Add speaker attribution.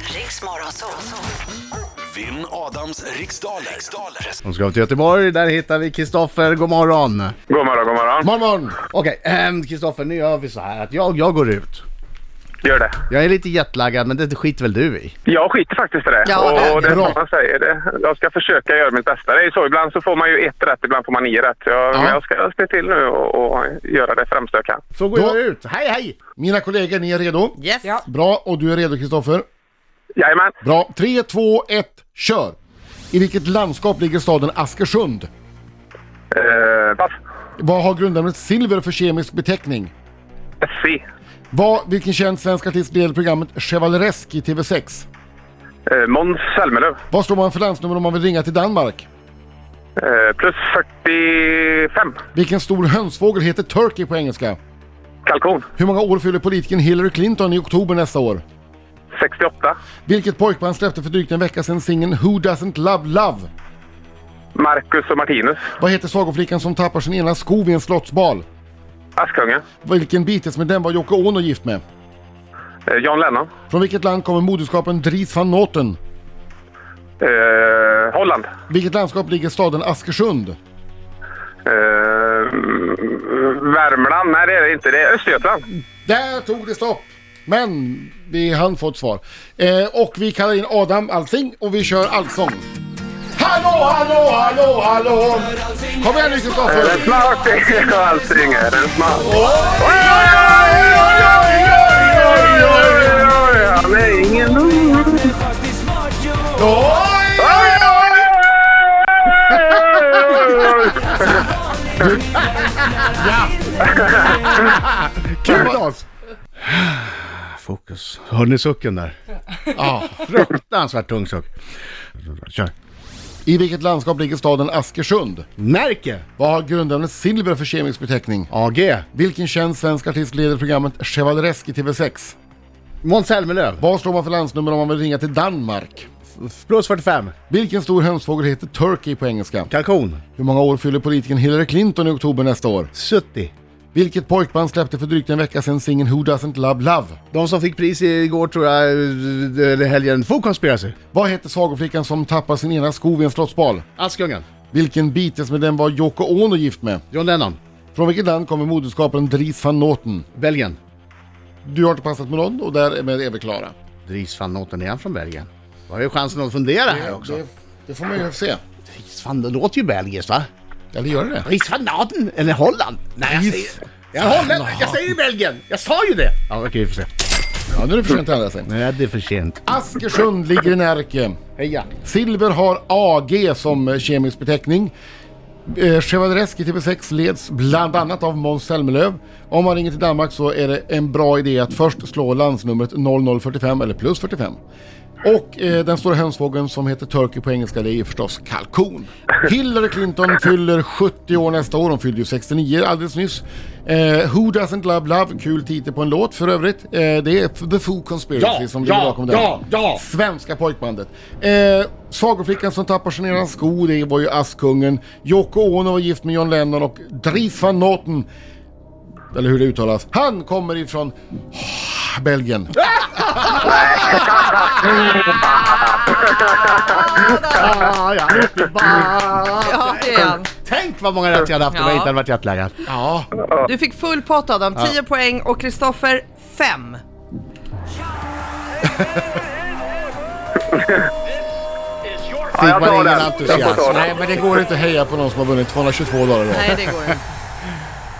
Speaker 1: Riks Morgonzoo.
Speaker 2: Vinn Adams riksdaler. riksdaler.
Speaker 3: Då ska vi till Göteborg, där hittar vi Kristoffer. God morgon!
Speaker 4: God morgon, god morgon.
Speaker 3: Morgon, morgon! Okej, ehm, Kristoffer, nu gör vi så här att jag, jag går ut.
Speaker 4: Gör det.
Speaker 3: Jag är lite jetlaggad, men det skiter väl du i?
Speaker 4: Jag skiter faktiskt i det.
Speaker 5: Ja, det är
Speaker 4: och det är
Speaker 3: bra.
Speaker 4: som man säger. Det. Jag ska försöka göra mitt bästa. Det är så. Ibland så får man ju ett rätt, ibland får man nio rätt. Jag,
Speaker 3: Ja.
Speaker 4: Men jag ska se till nu och, och göra det främsta jag kan.
Speaker 3: Så går
Speaker 6: Då-
Speaker 3: jag ut. Hej, hej!
Speaker 6: Mina kollegor, ni är redo?
Speaker 5: Yes.
Speaker 7: Ja.
Speaker 6: Bra, och du är redo Kristoffer?
Speaker 4: Jajamän.
Speaker 6: Bra. 3, 2, 1, kör! I vilket landskap ligger staden Askersund?
Speaker 4: Eh, pass.
Speaker 6: Vad har grundämnet silver för kemisk beteckning?
Speaker 4: SC.
Speaker 6: Vad, vilken känd svensk artist leder programmet Chevaleresk i TV6?
Speaker 4: Eh, Måns Zelmerlöw.
Speaker 6: Vad står man för landsnummer om man vill ringa till Danmark?
Speaker 4: Eh, plus 45.
Speaker 6: Vilken stor hönsfågel heter Turkey på engelska?
Speaker 4: Kalkon.
Speaker 6: Hur många år fyller politikern Hillary Clinton i oktober nästa år?
Speaker 4: 68.
Speaker 6: Vilket pojkband släppte för drygt en vecka sedan singeln Who Doesn't Love Love?
Speaker 4: Marcus och Martinus.
Speaker 6: Vad heter sagoflickan som tappar sin ena sko vid en slottsbal?
Speaker 4: Askungen.
Speaker 6: Vilken Beatles-medlem var Yoko Ono gift med?
Speaker 4: Eh, John Lennon.
Speaker 6: Från vilket land kommer moderskaparen Dries van Noten?
Speaker 4: Eh, Holland.
Speaker 6: Vilket landskap ligger staden Askersund?
Speaker 4: Eh, Värmland. Nej, det är det inte. Det är Östergötland.
Speaker 6: Där tog det stopp! Men vi hann få ett svar. Eh, och vi kallar in Adam Alsing och vi kör allsång. Hallå, hallå, hallå, hallå! Kom igen nu
Speaker 4: Den
Speaker 6: Kristoffer!
Speaker 4: smak är allting. är Den smak. Han är ingen
Speaker 3: Kul Claes! Fokus. Hör ni sucken där? Ja, fruktansvärt tung suck. Kör.
Speaker 6: I vilket landskap ligger staden Askersund?
Speaker 3: Närke!
Speaker 6: Vad har grundämnet silver för kemisk beteckning?
Speaker 3: AG.
Speaker 6: Vilken känd svensk artist leder programmet Chevaleresk i TV6?
Speaker 3: Måns Zelmerlöw.
Speaker 6: Vad står man för landsnummer om man vill ringa till Danmark?
Speaker 3: Plus 45.
Speaker 6: Vilken stor hönsfågel heter Turkey på engelska?
Speaker 3: Kalkon.
Speaker 6: Hur många år fyller politikern Hillary Clinton i oktober nästa år?
Speaker 3: Sutti.
Speaker 6: Vilket pojkband släppte för drygt en vecka sedan singeln Who Doesn't Love Love?
Speaker 3: De som fick pris igår tror jag, eh, eller helgen, Food Conspiracy.
Speaker 6: Vad heter sagoflickan som tappar sin ena sko vid en slottsbal?
Speaker 3: Askungen.
Speaker 6: Vilken Beatles-medlem var Yoko Ono gift med?
Speaker 3: John Lennon.
Speaker 6: Från vilket land kommer moderskaparen Dries van Noten?
Speaker 3: Belgien.
Speaker 6: Du har inte passat med någon och därmed är vi klara.
Speaker 3: Dries van Noten, är han från Belgien? Då har ju chansen att fundera här också.
Speaker 6: Det, det får man ju se.
Speaker 3: Dries van, det låter ju belgiskt va?
Speaker 6: Eller gör det det?
Speaker 3: Dries van Noten, eller Holland? Nej, jag
Speaker 6: Dries-
Speaker 3: säger... Jag, Holland, jag säger ju Belgien! Jag sa ju det! Ja, okej, vi får se.
Speaker 6: Ja, nu är det för sent att ändra sig.
Speaker 3: Nej, det är för sent.
Speaker 6: Askersund ligger i Närke.
Speaker 3: Heja!
Speaker 6: Silver har AG som eh, kemisk beteckning. Eh, Chevaleresk i TV6 leds bland annat av Måns Zelmerlöw. Om man ringer till Danmark så är det en bra idé att först slå landsnumret 0045 eller plus 45. Och eh, den stora hönsfågeln som heter Turkey på engelska det är ju förstås kalkon. Hillary Clinton fyller 70 år nästa år, hon fyllde ju 69 alldeles nyss. Eh, Who doesn't love love, kul titel på en låt för övrigt. Eh, det är The Foo Conspiracy
Speaker 3: Ja,
Speaker 6: som ligger
Speaker 3: ja,
Speaker 6: bakom den.
Speaker 3: ja, ja.
Speaker 6: Svenska pojkbandet. Eh, Sagoflickan som tappar sin ena sko, det var ju Askungen. Yoko Ono var gift med John Lennon och Dries van Noten, eller hur det uttalas, han kommer ifrån Belgien.
Speaker 3: Ah, ja, bara-
Speaker 5: Ja, det är han.
Speaker 3: Tänk vad många rätt jag hade haft om jag
Speaker 5: Ja.
Speaker 3: inte hade varit jetlaggad.
Speaker 6: Ja,
Speaker 5: Du fick full pott Adam, 10 poäng och Kristoffer 5.
Speaker 3: Fick
Speaker 4: jag
Speaker 3: man
Speaker 4: tar
Speaker 3: ingen
Speaker 4: den. Jag får
Speaker 3: entusiasm.
Speaker 4: ta den.
Speaker 6: nej men det går inte att heja på någon som har vunnit 222 dagar idag.
Speaker 5: Nej, det går inte.